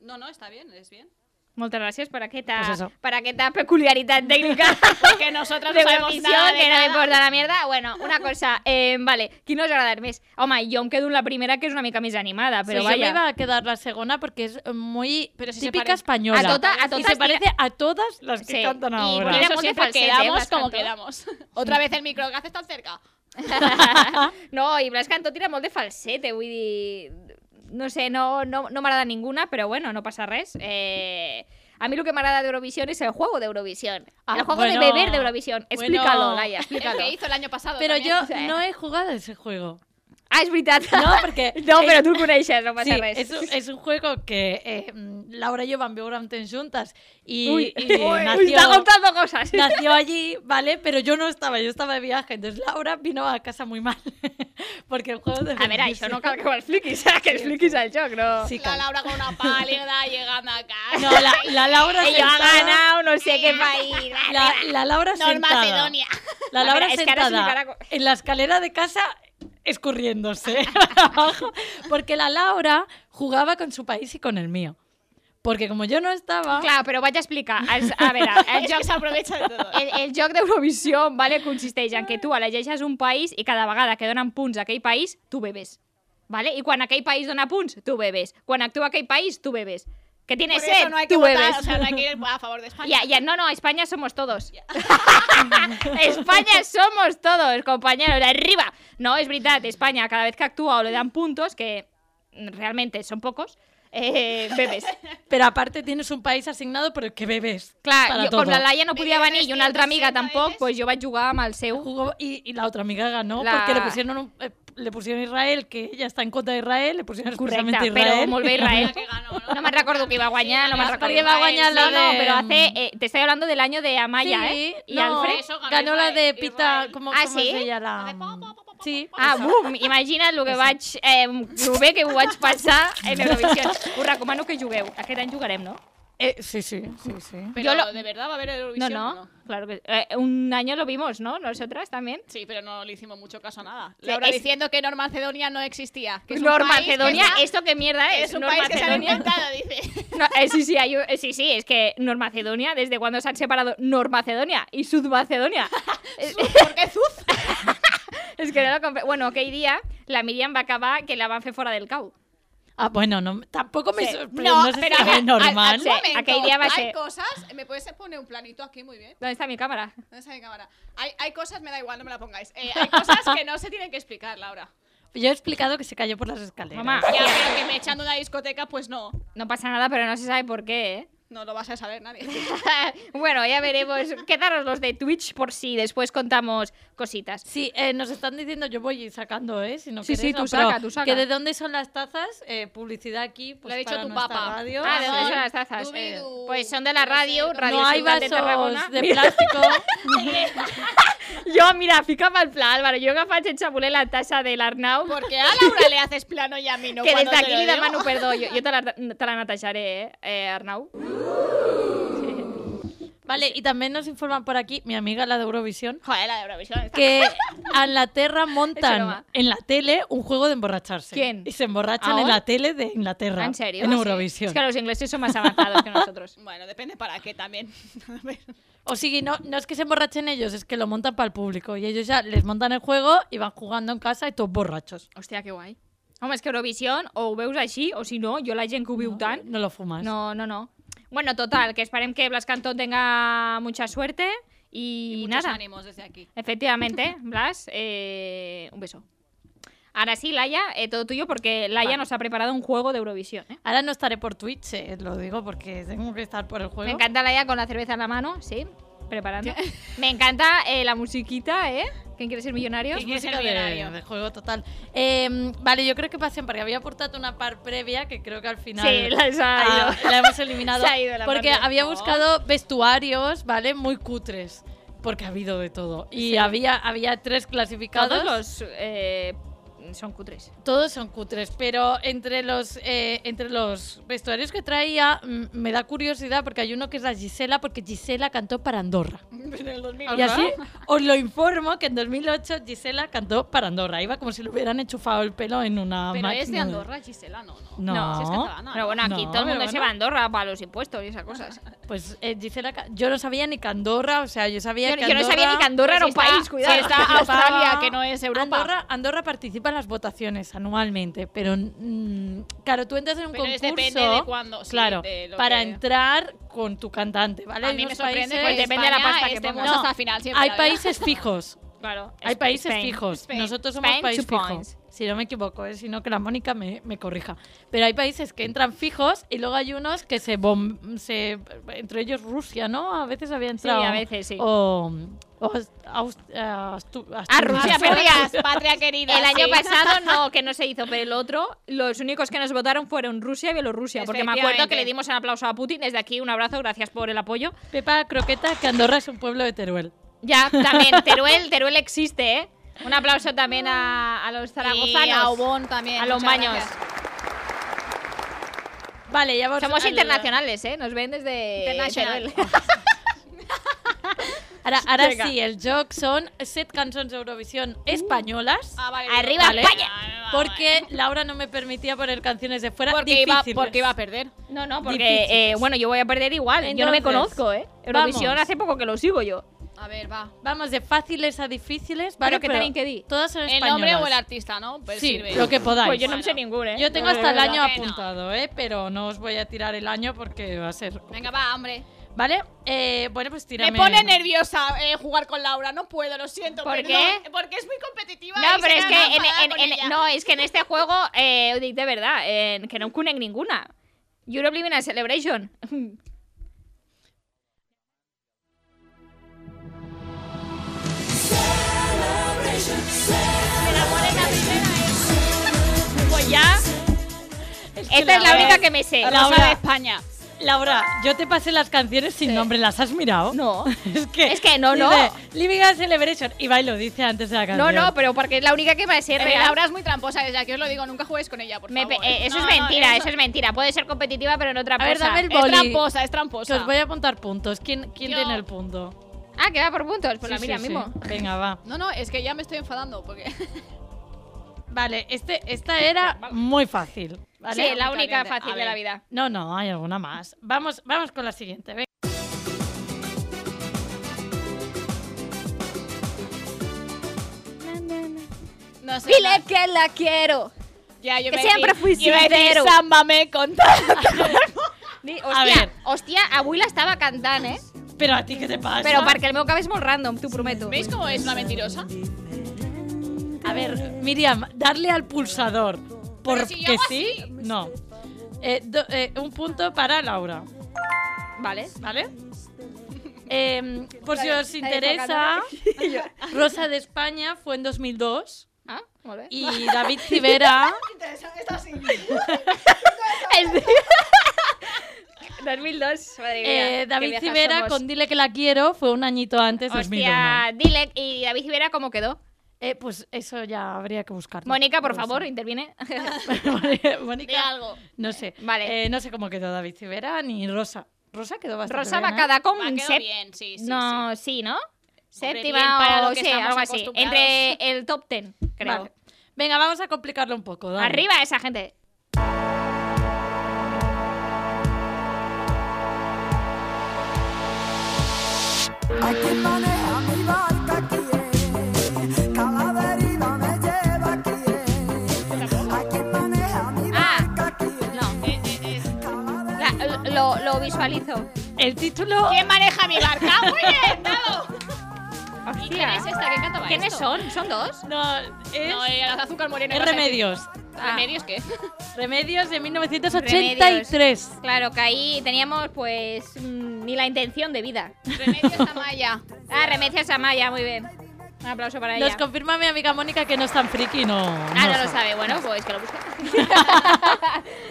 S6: No, no, está bien, es bien.
S4: Moltes gràcies per aquesta,
S3: Pues eso.
S4: per aquesta peculiaritat
S6: *laughs*
S4: tècnica
S6: Que nosotras no
S4: de
S6: sabemos
S4: Eurovisión,
S6: nada de
S4: que no
S6: nada.
S4: m'importa la mierda. Bueno, una cosa, eh, vale, qui no us ha agradat més? Home, jo em quedo amb la primera, que és una mica més animada, però
S3: Sí, yo me
S4: vaja.
S3: iba a quedar la segunda porque es muy
S6: Pero si se pare-
S3: típica española.
S4: A tota- a
S3: Y
S4: todas
S3: se parece a todas las que
S4: Sí,
S3: cantan
S4: y
S3: ahora.
S4: Por
S6: Por
S4: eso
S6: eso siempre
S4: siempre
S6: quedamos
S4: falsete,
S6: como
S4: Blas
S6: quedamos. Otra vez el micro, que haces tan cerca?
S3: *laughs*
S4: No, i Blas Cantó tira molt de falsete, vull dir... No sé, no, no, no m'agrada ninguna, però bueno, no passa res. Eh, a mi el que m'agrada d'Eurovisión és el juego d'Eurovisión.
S3: Ah,
S4: el juego
S3: bueno.
S4: de beber d'Eurovisión.
S3: Bueno.
S4: Explícalo, Laia,
S6: El
S4: explícalo.
S6: que hizo el año pasado.
S3: Pero
S6: también.
S3: yo
S4: o sea.
S3: no he jugado ese juego.
S4: Ah, és veritat.
S3: No, perquè-
S4: *laughs* No, però tu el coneixes, no passa
S3: Sí,
S4: res.
S3: es un, es un juego que eh, mm, Laura y yo van Beuranten juntas y, y *laughs*
S4: Uy, está
S3: nació,
S4: contando cosas.
S3: nació allí, ¿vale? Pero yo no estaba, yo estaba de viaje. Entonces Laura vino a casa muy mal. *laughs* Porque el juego de.
S4: A veure, això no cal que ho *laughs* expliquis, eh, que expliquis el joc, no?
S3: Sí,
S6: La
S3: cal.
S6: Laura con
S3: *laughs*
S6: una pálida llegando a casa.
S3: No, la, la Laura
S4: Ella ha
S3: sentada-
S4: ganado no sé qué país.
S3: La, la Laura
S6: Norma
S3: sentada.
S6: Macedonia.
S3: La
S4: A
S3: Laura
S4: ver, es que ahora
S3: sentada
S4: se me cara-
S3: en la escalera de casa
S4: *laughs*
S3: escurriéndose *laughs* abajo, porque la Laura jugaba con su país y con el mío. Porque como yo no estaba,
S4: Clar, però vaig a explicar. Els,
S6: *laughs*
S4: a veure, el
S6: Es
S4: joc,
S6: que se aprovecha de todo.
S4: el, el joc d'Eurovisió vale, consisteix en que tu elegeixes un país i cada vegada que donen punts a aquell país, tu bebes. Vale? I quan aquell país dona punts, tu bebes. Quan actua aquell país, tu bebes. Que
S6: Por
S4: tiene
S6: eso
S4: set,
S6: no hay que
S4: tu
S6: votar,
S4: bebes.
S6: o sea, no hay que ir a favor de España.
S4: Ya, ya, no, no, España somos todos. *laughs* España somos todos, compañeros, de arriba. No, es verdad, España cada vez que actúa o le dan puntos, que realmente son pocos, eh, bebes.
S3: pero aparte tienes un país asignado por el que bebes.
S4: Clar,
S3: para
S4: jo,
S3: todo.
S4: com la Laia no podia
S6: Bebes
S4: venir i una altra amiga
S6: 360
S4: tampoc,
S6: bebes.
S4: pues jo vaig jugar amb el seu.
S3: Jugó y, y la otra amiga ganó
S4: La-
S3: porque le pusieron, un- eh, le pusieron Israel, que ella está en contra de Israel, le pusieron
S4: Correcte,
S3: expresamente
S4: però
S3: Israel.
S4: molt bé Israel.
S6: La que ganó,
S4: No me'n recordo qui va guanyar, no me'n
S6: Sí,
S4: recordo.
S3: perquè va guanyar la
S4: No, no,
S3: de-
S4: però hace... Eh, te estoy hablando del año de Amaya,
S3: Sí,
S4: eh? I
S3: no,
S4: Alfred.
S6: eso ganó
S3: ganó la de
S6: Israel,
S3: Pita,
S6: Israel.
S3: como
S4: Ah,
S3: ¿cómo es
S4: sí?
S3: ella? La,
S6: de pa, pa, pa, pa,
S3: sí,
S4: Ah, bum! Imagina't el que vaig... Eh, el bé que ho vaig passar en Eurovisió. Us recomano que jugueu. Aquest any jugarem, no?
S3: Eh, sí, sí, sí, sí.
S6: Pero
S4: Yo lo-
S6: de verdad va a haber
S4: No,
S6: Eurovisión. o
S4: no. Claro que eh, Un año lo vimos, ¿no? Nosotras también.
S6: Sí, pero no le hicimos mucho caso a nada.
S4: Sí,
S6: Laura
S4: es-
S6: diciendo que Norma Macedonia no existía. Que es un
S4: Nor
S6: país que
S4: Macedonia,
S6: está-
S4: ¿esto qué mierda es?
S6: es un
S4: Nor
S6: país que se lo ha
S4: Macedonia.
S6: inventado,
S4: *laughs*
S6: dice.
S4: No, eh, sí, sí, hay un- eh, sí, sí, es que Nor Macedonia, ¿desde cuándo se han separado Nor Macedonia y Sud
S3: *laughs*
S4: Macedonia? Eh, *laughs*
S6: ¿Por qué Zuz?
S4: és que no lo compre... Bueno, aquell dia la Miriam va acabar que la van fer fora del cau.
S3: Ah, bueno, no, tampoco me
S4: Sí.
S3: sorprende.
S4: No,
S3: No, sé
S4: pero
S3: si
S4: a ver,
S3: es normal.
S4: al- Sí, aquel día va a
S6: Hay
S4: ser-
S6: cosas. ¿Me puedes poner un planito aquí? Muy bien.
S4: ¿Dónde está mi cámara?
S6: ¿Dónde está mi cámara? Hay, hay cosas, me da igual, no me la pongáis. Eh, hay cosas que no se tienen que explicar, Laura.
S3: Yo he explicado que se cayó por las escaleras.
S4: *laughs* Mamá,
S6: Ya, pero que me echando de una discoteca, pues no.
S4: no pasa nada, pero no se sabe por qué, ¿eh? *laughs*
S6: No lo vas a saber nadie.
S4: bueno, ya veremos. Quedaros los de Twitch por si después contamos cositas.
S3: Sí, eh, nos están diciendo, yo voy sacando, ¿eh? Si no
S4: Sí,
S3: quieres,
S4: sí, tú
S3: no, pero
S4: saca, tú saca.
S3: Que de dónde son las tazas, eh, publicidad aquí, pues
S6: lo ha dicho
S3: para
S6: tu
S3: nuestra
S6: papá.
S3: radio.
S4: Ah, ¿de dónde
S3: Sí.
S4: son las tazas?
S6: Dubi,
S4: Eh,
S6: du.
S4: pues son de la radio, Radio
S3: No hay
S4: Ciutat de Tarragona.
S3: vasos de plástico.
S4: *laughs* Jo, mira, fica'm el pla, Álvaro. Jo que faig sense voler la tassa de
S3: *laughs*
S4: l'Arnau,
S6: Porque a Laura le haces plano y a mí no.
S4: que des
S6: cuando te
S4: d'aquí
S6: lo
S4: li
S6: digo.
S4: demano perdó. Jo, jo
S6: *laughs*
S4: te, la, te la netejaré, eh, eh Arnau?
S3: Vale,
S4: Pues
S3: y también nos informan por aquí, mi amiga la de Eurovisión,
S6: Joder, la de Eurovisión. está-
S4: *laughs*
S3: que a Inglaterra
S4: Es
S3: montan
S4: broma.
S3: en la tele un juego de emborracharse.
S4: ¿Quién?
S3: Y se emborrachan
S4: ¿Ahora? ¿Ah,
S3: en la tele de Inglaterra.
S4: ¿En serio?
S3: En
S4: Sí.
S6: *laughs*
S3: Eurovisión.
S4: Es que los ingleses son más avanzados que nosotros.
S6: Bueno, depende para qué también.
S3: O sigui, no, no es que se emborrachen ellos, es que lo montan para el público. Y ellos ya les montan el juego y van jugando en casa y todos borrachos.
S4: Hòstia, que guai. Home, és que Eurovision o ho veus així, o si no, jo la gent que ho viu tant...
S3: No lo fumas.
S4: No, no, no. Bueno, total, que esperem que Blas Cantón tenga mucha suerte y,
S6: Y muchos
S4: nada.
S6: ánimos desde aquí.
S4: Efectivamente, Blas, eh, un beso. Ahora sí, Laia, eh, todo tuyo porque Laia nos ha preparado un juego de Eurovisión. ¿eh?
S3: Ahora no estaré por Twitch, eh, lo digo porque tengo que estar por el juego.
S4: Me encanta Laia con la cerveza en la mano, sí,
S6: *laughs*
S4: preparando. Me encanta eh, la musiquita, ¿eh? ¿Quién quiere ser millonario?
S3: Sí, música
S6: ser
S3: de-
S6: millonario.
S3: de juego total. Eh, vale, jo crec que passem, perquè havia portat una part prèvia que crec que al final...
S4: Sí, la has
S3: ah,
S4: ido.
S3: la hemos eliminado.
S4: *laughs* Se ha ido la
S3: porque
S4: parte.
S3: había buscado vestuarios, ¿vale? Muy cutres. Porque ha habido de todo. Y había, había tres clasificados.
S4: Todos los eh, son cutres.
S3: Todos son cutres, pero entre los, eh, entre los vestuarios que traía mm, me da curiosidad porque hay uno que es la Gisela, porque Gisela cantó para Andorra. Y así os lo informo que en 2008 Gisela cantó para Andorra. Iba como si le hubieran enchufado el pelo en una
S6: Pero es de
S3: máquina
S6: Andorra, Gisela, no, Ah, no.
S3: No,
S6: Si es catalana.
S4: Pero bueno, aquí
S3: No,
S4: todo el
S3: pero
S4: mundo se
S3: bueno.
S4: va a Andorra para los impuestos y esas cosas.
S6: *laughs*
S3: Pues eh, Gisela, ca- yo no sabía ni que Andorra, o sea, yo sabía
S4: Yo,
S3: que
S4: yo no sabía ni que Andorra era un
S6: está-
S4: país, cuidado.
S6: si *laughs* está Australia, que no es Europa.
S3: Andorra, Andorra participa en las votaciones anualmente, pero mm, claro, tú entras en un
S6: Pero es
S3: concurso.
S6: depende de cuándo, sí,
S3: claro,
S6: de lo
S3: para
S6: que-
S3: entrar con tu cantante, ¿vale?
S6: A
S3: Hay
S6: mí me
S3: unos
S6: sorprende
S3: países-
S6: que depende de la pasta que estemos
S3: No,
S6: hasta el final siempre.
S3: Hay
S6: la verdad.
S3: países fijos.
S4: Claro.
S3: Hay
S4: Es-
S3: países
S4: Spain.
S3: fijos.
S4: Spain.
S3: Nosotros somos
S4: Spain,
S3: país
S4: two
S3: fijo.
S4: points.
S3: Si no me equivoco, eh, si no que la Mónica me, me corrija. Pero hay países que entran fijos y luego hay unos que se, bom- se entre ellos Rusia, ¿no? A veces había entrado.
S4: a veces sí.
S3: O, o Aus- Aus- eh, Astu- Asturias.
S4: Rusia,
S6: Patria,
S4: pero
S6: perdidas, *laughs*
S4: *laughs*
S6: patria querida.
S4: Ah, El año
S6: sí. *laughs*
S4: pasado no, que no se hizo, pero el otro, los únicos que nos votaron fueron Rusia y Bielorrusia. Porque me acuerdo que
S6: Efectivamente.
S4: le dimos un aplauso a Putin. Desde aquí, un abrazo, gracias por el apoyo.
S3: Pepa Croqueta, que Andorra es un pueblo de Teruel. *laughs*
S4: Ya, también, Teruel, Teruel existe, ¿eh? Un aplauso también a, a los zaragozanos.
S6: Y a Obón también.
S4: A los
S6: muchas
S4: maños.
S6: gracias.
S3: Vale, ya vos-
S4: Somos
S3: al-
S4: internacionales, ¿eh? Nos ven desde
S6: International.
S4: *laughs* Teruel.
S3: Ara, ara
S4: Vinga.
S3: sí, el joc són set cançons d'Eurovisió
S4: Uh.
S3: espanyoles.
S6: Ah, vale,
S4: Arriba
S6: vale.
S4: España.
S6: Ah, vale.
S3: Porque Laura no me permitía poner canciones de fuera
S6: Porque iba,
S3: difíciles.
S6: porque iba a perder.
S4: No, no, porque,
S3: Difíciles.
S4: eh, bueno, yo voy a perder igual. yo no me
S3: Entonces,
S4: conozco, ¿eh? Eurovisión
S3: vamos.
S4: hace poco que lo sigo yo.
S6: A ver, va.
S3: Vamos de fáciles a difíciles, ¿vale?
S4: Pero que tenéis que di.
S3: Todas son
S6: El
S3: españolas.
S6: nombre o el artista, ¿no? Pues
S3: Sí,
S6: sirve.
S3: lo que podáis.
S4: Pues yo no
S6: Bueno.
S4: me sé ninguno, ¿eh?
S3: Yo tengo
S4: No,
S3: hasta el
S4: no, no.
S3: año
S6: que no.
S3: apuntado, ¿eh? Pero no os voy a tirar el año porque va a ser...
S6: Venga, va, hombre.
S3: ¿Vale? Eh, bueno, pues tírame...
S6: Me pone nerviosa eh, jugar con Laura. No puedo, lo siento.
S4: ¿Por
S6: perdón.
S4: qué?
S6: Porque es muy competitiva.
S4: No,
S6: y
S4: pero
S6: se
S4: es
S6: me
S4: que
S6: han
S4: en,
S6: enfadado
S4: en-
S6: con
S4: en-
S6: ella.
S4: no, es que en este juego, eh, Udic, de verdad, eh, que no cunen ninguna. Europe Living
S6: *laughs*
S4: and Celebration. Pues ya. Esta es la única que me sé.
S3: Laura-
S6: Rosa de España.
S3: Laura, yo te pasé las canciones sin nombre, ¿las has mirado?
S4: No.
S3: *laughs* Es que...
S4: Es que no, no.
S3: dice, Living a Celebration. Y va y lo dice antes de la
S4: No,
S3: canción.
S4: no, pero porque es la única que me sé
S6: Eh,
S4: real.
S6: Laura es muy tramposa, desde aquí os lo digo. Nunca juguéis con ella, por
S4: Me pe-
S6: favor.
S4: eh, eso
S6: No,
S4: es
S6: no,
S4: mentira, eso... es mentira. Puede ser competitiva, pero en otra
S3: A ver,
S4: cosa.
S3: dame el
S6: Es
S3: boli.
S6: tramposa, es
S3: Que
S6: tramposa.
S3: os voy a apuntar puntos. ¿Quién, quién
S6: Yo-
S3: tiene el punto?
S4: Ah, que va por puntos. Pues
S3: Sí,
S4: la mira
S3: sí, sí.
S4: mismo.
S3: Venga, va.
S6: No, no, es que ya me estoy enfadando porque *laughs*
S3: Vale, este, esta era muy fácil. ¿vale?
S4: Sí, la
S6: Muy
S4: única
S6: caliente.
S4: fácil
S6: A
S4: de la
S6: ver.
S4: vida.
S3: No, no, hay alguna más. Vamos, vamos con la siguiente. venga.
S6: no sé.
S4: Dile que la quiero.
S6: Ya, yo
S4: que
S6: iba a
S4: siempre
S6: decir-
S4: fui
S6: iba a decir,
S4: sincero.
S6: "Sámbame con todo".
S4: *laughs* Di- Hòstia,
S3: A ver.
S4: hòstia, avui l'estava cantant, eh?
S3: Pero a ti, ¿qué te pasa?
S4: Però perquè el meu cap és molt random, t'ho prometo.
S6: ¿Veis cómo es una mentirosa?
S3: A ver, Miriam, darle al pulsador.
S6: Pero
S3: Porque
S6: si yo hago
S3: sí,
S6: así.
S3: no. Eh, do- eh, un punto para Laura,
S4: Vale.
S3: ¿vale? Eh, por si os
S4: la de
S3: interesa,
S4: *laughs*
S3: Rosa de España fue en 2002
S4: Ah, molt bé.
S3: y
S4: *laughs*
S3: David Civera.
S4: És *laughs* de- 2002, madre mía.
S3: eh,
S4: que
S3: David
S4: viejas
S3: Civera
S4: somos.
S3: con Dile que la quiero fue un añito antes, 2001.
S4: Hòstia, dile... I David Civera com quedó?
S3: Eh, pues eso ya habría que buscarlo.
S4: Mónica, por
S3: No lo
S4: favor,
S6: *laughs*
S3: sé.
S4: interviene.
S6: De
S3: *laughs* Mónica,
S6: algo.
S3: no sé.
S4: Vale.
S3: Eh, no sé cómo quedó David Civera ni Rosa. Rosa quedó bastante
S4: Rosa
S3: bien,
S4: va
S3: ¿eh?
S4: quedar com
S6: Va, quedó
S4: sep-
S6: bien, sí, sí. sí.
S4: *laughs* No, sí, ¿no?
S6: bien, para
S4: Séptima
S6: lo
S4: o
S6: que
S4: sí,
S6: estamos
S4: algo así.
S6: acostumbrados.
S4: Entre el top ten, creo.
S3: Vale. Venga, vamos a complicarlo un poco. dale.
S4: Arriba esa gente.
S8: Aquí maneja mi barca, aquí es. Cada deriva me lleva, aquí es. Aquí maneja mi
S4: Ah.
S8: barca, aquí es.
S4: No,
S6: Eh, eh, eh.
S8: Cada deriva-
S4: la- lo, lo visualizo.
S3: El título...
S6: ¿Quién maneja mi barca?
S4: *laughs*
S6: Muy bien, dado. ¿Y quién
S4: Hòstia.
S6: es esta? ¿Quién cantaba
S4: ¿Quiénes
S6: esto?
S4: son? ¿Son dos?
S3: No, es...
S6: No, eh, las azúcar morena.
S3: es
S6: ibas a decir.
S3: Remedios.
S4: Ah.
S6: ¿Remedios qué?
S3: Remedios de 1983.
S4: Claro, que ahí teníamos pues mm, ni la intención de vida.
S6: Remedios Amaya.
S4: *laughs* Ah, Remedios Amaya, muy bien. Un aplauso para ella.
S3: Nos confirma mi amiga Mónica que no es tan friki, no.
S4: Ah,
S3: no
S4: no lo
S3: sé.
S4: sabe. Bueno, pues que lo busque. *laughs*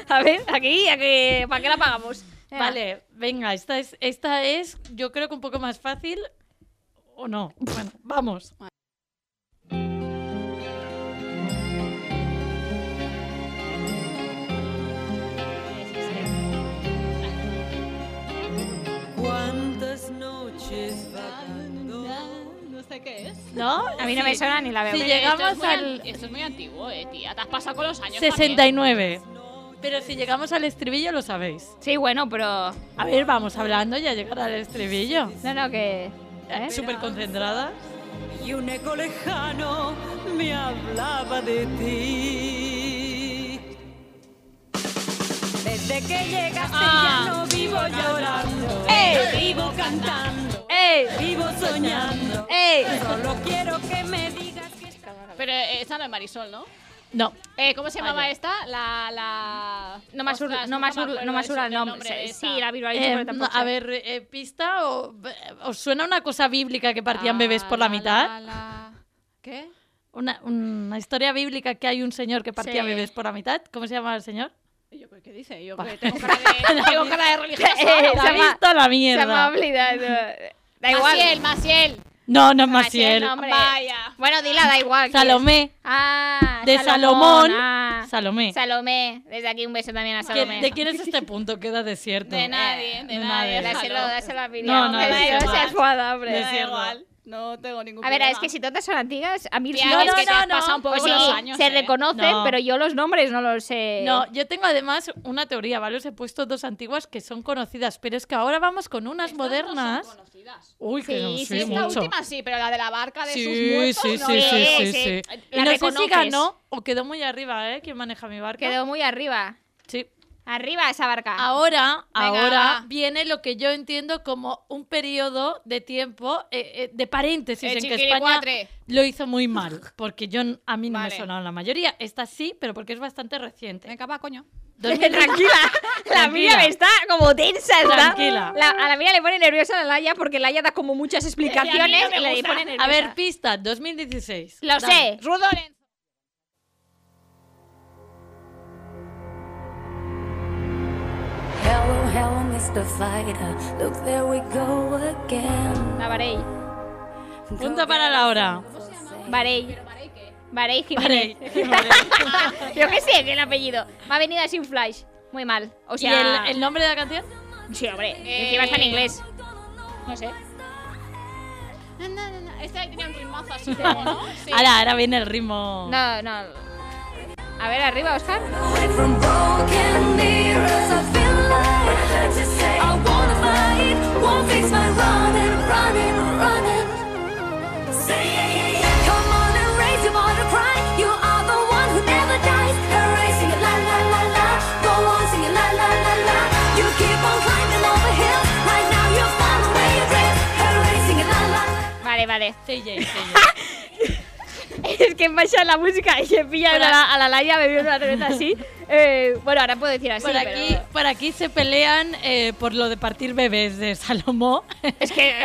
S4: a ver, aquí, aquí, ¿para qué la pagamos? Venga.
S3: Vale, venga, esta es, esta es, yo creo que un poco más fácil, ¿o no? Bueno, vamos.
S6: No sé qué es.
S3: ¿No?
S9: A mí no me suena ni la veo.
S3: Si
S6: Pero esto es
S3: llegamos
S6: muy
S3: al
S6: an- Esto es muy antiguo, eh, tía. Te has pasado con los años. también.
S3: 69. Pero si llegamos al estribillo lo sabéis.
S4: Sí, bueno, pero.
S3: A ver, vamos hablando y a llegar al estribillo.
S4: No, no, que. ¿eh?
S3: Súper concentrada.
S8: Y un eco lejano me hablaba de ti. Desde que llegaste ya no vivo llorando. Vivo cantando. Vivo soñando. Solo quiero que me digas que
S6: Pero eh, esta no es Marisol, ¿no?
S3: No,
S6: Eh, ¿Cómo se llamaba esta? La. la...
S4: No me
S6: Ostras,
S4: asura, no
S6: nunca
S4: me asura,
S6: acuerdo
S4: no me
S6: del
S4: asura el
S6: del
S4: nombre.
S6: de
S4: Sí,
S6: esta.
S4: sí, la visualizo,
S3: Eh,
S4: pero
S3: no,
S4: tampoco.
S3: a
S4: sé.
S3: ver, eh, pista o eh, os suena una cosa bíblica que partían
S6: Ah,
S3: bebés por la, mitad,
S6: la, la- ¿Qué?
S3: Una, una historia bíblica que hay un señor que partía
S4: Sí.
S3: bebés por la mitad. ¿Cómo se llama el señor?
S6: Y Yo, ¿Qué dice? Yo que tengo cara de, tengo cara de religiosa.
S4: Eh,
S3: La
S4: se me-
S3: vista a la
S4: se me ha
S3: mierda.
S4: olvidado. Da igual.
S6: Maciel, Maciel.
S3: No, no es
S4: Maciel,
S3: Maciel.
S4: no, hombre.
S6: Vaya.
S4: Bueno, dila, da igual. ¿quién es?
S3: Salomé
S4: Ah,
S3: de
S4: Salomón.
S3: Salomón.
S4: ah.
S3: Salomé.
S4: Salomé. Desde aquí un beso también a
S3: ¿Qué-
S4: Salomé.
S3: ¿De quién es este punto? Queda desierto.
S6: De nadie, Eh, de,
S3: de
S6: nadie.
S3: nadie.
S4: Dáselo,
S6: déjalo.
S4: dáselo a Miriam.
S3: No, no,
S4: que
S3: da
S4: no
S3: igual.
S4: seas guada, hombre.
S6: Me
S3: Es
S6: da
S3: cierto.
S6: igual. No tengo ningún
S4: A
S6: problema.
S4: ver, es que si todas son antiguas, a mí
S6: Tía,
S4: no,
S6: es que
S4: no,
S6: te has
S4: no,
S6: pasado un poco
S4: o
S6: con
S4: sí,
S6: los años,
S4: se
S6: eh.
S4: reconocen,
S3: No.
S4: pero yo los nombres no los sé.
S3: No, yo tengo además una teoría, ¿vale? Os he puesto dos antiguas que son conocidas, pero es que ahora vamos con unas
S6: Estas no son
S3: modernas.
S6: conocidas.
S3: Uy, que
S4: Sí,
S3: no
S4: sí,
S3: sé
S6: Esta
S3: mucho.
S6: última sí, pero la de la barca de sus
S3: Sí,
S6: muertos.
S3: sí, sí,
S6: no,
S3: sí,
S6: no.
S4: Eh,
S3: sí,
S4: sí,
S3: sí. Y
S4: la
S3: no sé si
S4: reconoces.
S3: ganó o quedó muy arriba, ¿eh? ¿Quién maneja mi barca?
S4: Quedó Ah. muy arriba.
S3: Sí.
S4: Arriba esa barca.
S3: Ah, Ahora,
S6: Venga,
S3: ahora
S6: va.
S3: viene lo que yo entiendo como un periodo de tiempo eh, eh, de paréntesis
S6: Eh,
S3: en que España
S6: chiquiricuatre.
S3: lo hizo muy mal, porque yo n- a mí no
S6: Vale.
S3: me sonaron la mayoría. Esta sí, pero porque es bastante
S6: *laughs*
S3: reciente.
S6: Venga, va, coño.
S3: 2000
S4: *laughs* tranquila. La
S3: Tranquila.
S4: Miriam está como tensa. Está.
S3: Tranquila.
S4: La- a la Miriam le pone nerviosa a la Laia porque Laia da como muchas explicaciones
S6: me
S4: y le
S6: gusta.
S4: pone nerviosa.
S3: a ver, pista, 2016.
S4: lo
S3: Dale.
S4: sé.
S6: Eh. Rudo Lorenzo.
S8: Hello, hello, Mr. Fighter. Look, there we go again.
S4: La Barey.
S3: Punto para la hora.
S4: Barey. Barey Jiménez.
S3: *laughs* Vale.
S6: *laughs*
S4: Yo qué sé, que el apellido. Me ha venido así un flash. Muy mal. O
S3: ¿Y
S4: sea,
S3: el, el nombre de la canción?
S4: sí, hombre.
S3: Eh,
S4: Encima está en inglés. No sé.
S6: No, no, no, no. Esta tenía un ritmazo así como, ¿no? Sí.
S3: Ahora, ahora viene el ritmo.
S4: No, no. A ver, arriba, Oscar.
S8: From broken mirrors, I feel like I just say I wanna fight. Won't fix my running, running, running. Say yeah, yeah, yeah. Come on and raise your voice and cry. You are the one who never dies. Hooray, sing it la la la la. Go on, sing it la la la la. You keep on climbing over hills. Right now you're far away, you drift. Hooray, sing it la la. la.
S4: Vale, vale. *laughs*
S6: *laughs*
S3: CJ, CJ.
S4: Es que en la música y se pilla a la, a la Laia bebiendo una cerveza así. Eh, bueno, ahora puedo decir así,
S3: Por aquí,
S4: pero-
S3: por aquí se pelean eh, por lo de partir bebés
S6: *laughs*
S3: de Salomó.
S4: Es que...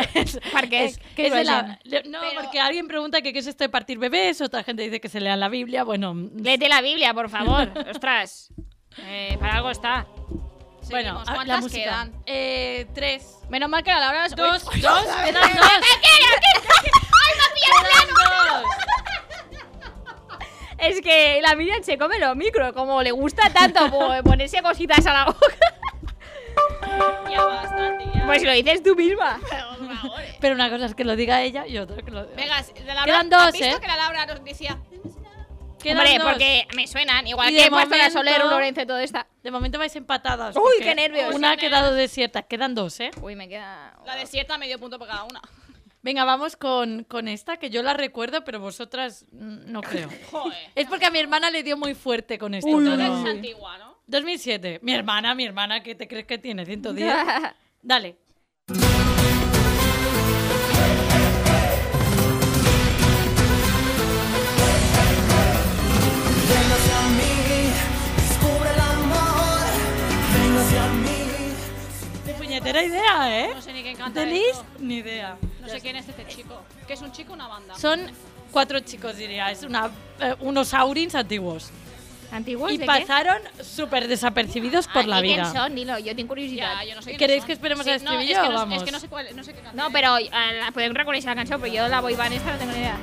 S3: *laughs*
S4: ¿Para qué?
S3: Es-
S4: ¿Qué
S3: es de la-
S4: grueso.
S3: le- no,
S6: Pero-
S3: porque alguien pregunta que qué es esto de partir bebés, otra gente dice que se lea la Biblia. Bueno, mm,
S4: Léete la Biblia, por
S3: *laughs*
S4: favor. Ostras. Eh, para algo está.
S3: bueno
S6: Seguimos.
S3: a- la
S6: ¿Cuántas
S3: música.
S6: quedan?
S3: Eh, tres.
S6: Menos mal que la hora es
S3: Dos,
S6: Uy. *laughs*
S3: dos, quedan dos. Quedan dos.
S4: Es que la Miriam se come los micros, como le gusta tanto po- ponerse cositas a la
S3: *laughs*
S4: boca.
S6: Ya basta, tía.
S4: Pues lo dices tú misma.
S6: Por favor, eh.
S3: Pero una cosa es que lo diga ella y otra que lo diga.
S6: Venga, de la Laura,
S3: Quedan
S6: ¿has
S3: dos,
S6: visto
S3: eh.
S6: que la Laura nos decía?
S3: Quedan
S4: Hombre,
S3: dos.
S4: porque me suenan. Igual
S3: Y
S4: que
S3: de
S4: he puesto la
S3: momento-
S4: Soler, un Lorenzo y todo esta.
S3: De momento vais empatadas.
S4: Uy,
S3: porque
S4: qué nervios.
S3: Una ha quedado desierta. Quedan dos, ¿eh?
S4: Uy, me queda...
S6: La desierta medio punto por cada una.
S3: Venga, vamos con, con esta, que yo la recuerdo, pero vosotras mm, no creo.
S6: *laughs* Joder.
S3: Es porque a mi hermana le dio muy fuerte con esto.
S6: Entonces
S3: todo.
S6: es antigua, ¿no?
S3: 2007. Mi hermana, mi hermana, ¿qué te crees que tiene? 110. Dale. Ni Puñetera idea, ¿eh?
S6: No sé ni qué encanta
S3: ¿Tenéis?
S6: esto.
S3: Ni idea.
S6: No sé quién es este chico. ¿Qué es un chico o una banda?
S3: Son cuatro chicos, diría. Es una, eh, unos aurins antiguos.
S4: *laughs* ¿Antiguos
S3: Y
S4: Pues, de
S3: pasaron súper desapercibidos
S4: qué?
S6: Ah,
S3: por la
S4: Ay, ¿y quién
S3: vida.
S4: son? Dilo, yo tengo curiosidad.
S6: Ya, yo no sé quiénes
S3: ¿Queréis
S6: son.
S3: que esperemos al
S6: no, es
S3: estribillo
S6: que
S3: o
S6: no,
S3: vamos?
S6: Es que no sé cuál, no sé qué canción
S4: No,
S6: es.
S4: pero eh, la podemos reconocer la canción, pero yo la boy band esta no tengo ni idea.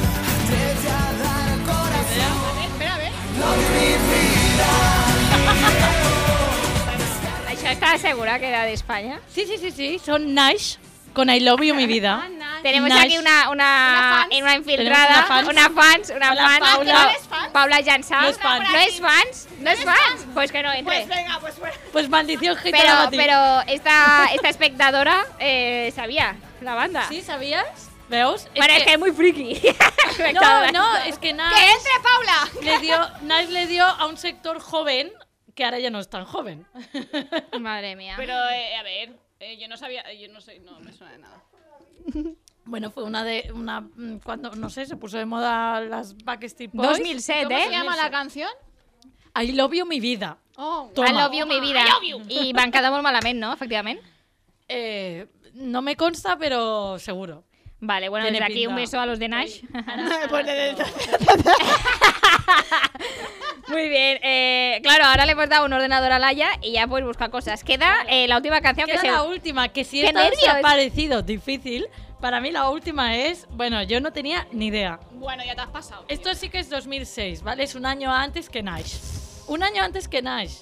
S4: *laughs* Això estava segura que era de España.
S3: Sí, sí, sí, sí. Son Nash con I Love
S6: Ah,
S3: You Mi Vida.
S4: Tenemos
S3: Nice.
S4: aquí una, una, una, infiltrada,
S3: Tenemos una
S4: una fans, una
S3: Hola,
S4: fans,
S3: Paula.
S4: Paula,
S3: ¿No eres
S4: Paula, Paula Llançà.
S3: No es fan.
S4: ¿No es fans? ¿No es fans? Pues que no entre.
S6: Pues venga, pues fuera.
S3: Pues maldición gitana
S4: pero
S3: para ti.
S4: pero esta, esta espectadora eh, sabía la banda.
S3: Sí, ¿sabías? ¿Veus?
S4: Bueno, es que es muy friki. *laughs*
S3: No,
S4: Espectadora.
S3: no, es que Nash...
S6: ¡Que entre, Paula!
S3: Le dio, Nash le dio a un sector joven que ahora ya no es tan joven. *laughs*
S4: Madre mía.
S6: Pero, eh, a ver, eh, yo no sabía, yo no sé, no me suena de nada.
S3: Bueno, fue una de una mm, cuando no sé, se puso de moda las Backstreet Boys.
S4: 2007,
S6: ¿Cómo se
S4: ¿eh?
S6: llama la canción?
S3: I love you mi vida.
S6: Oh,
S3: Toma.
S4: I love you, mi vida. I van quedar molt malament, no? Efectivament.
S3: Eh, no me consta, pero seguro.
S4: Vale, bueno,
S3: Tiene
S4: desde aquí un
S3: pinta.
S4: beso a los de Nash. *laughs* Muy bien. Eh, claro, ahora le hemos dado un ordenador a Laia y ya puedes buscar cosas. Queda eh, la última canción que
S3: Queda
S4: se...
S3: la última, que si
S4: ¡Qué
S3: esta os ha
S4: nervios!
S3: parecido difícil, para mí la última es, bueno, yo no tenía ni idea.
S6: bueno, ya te has pasado. tío.
S3: Esto sí que es 2006, ¿vale? Es un año antes que Nash. Un año antes que Nash.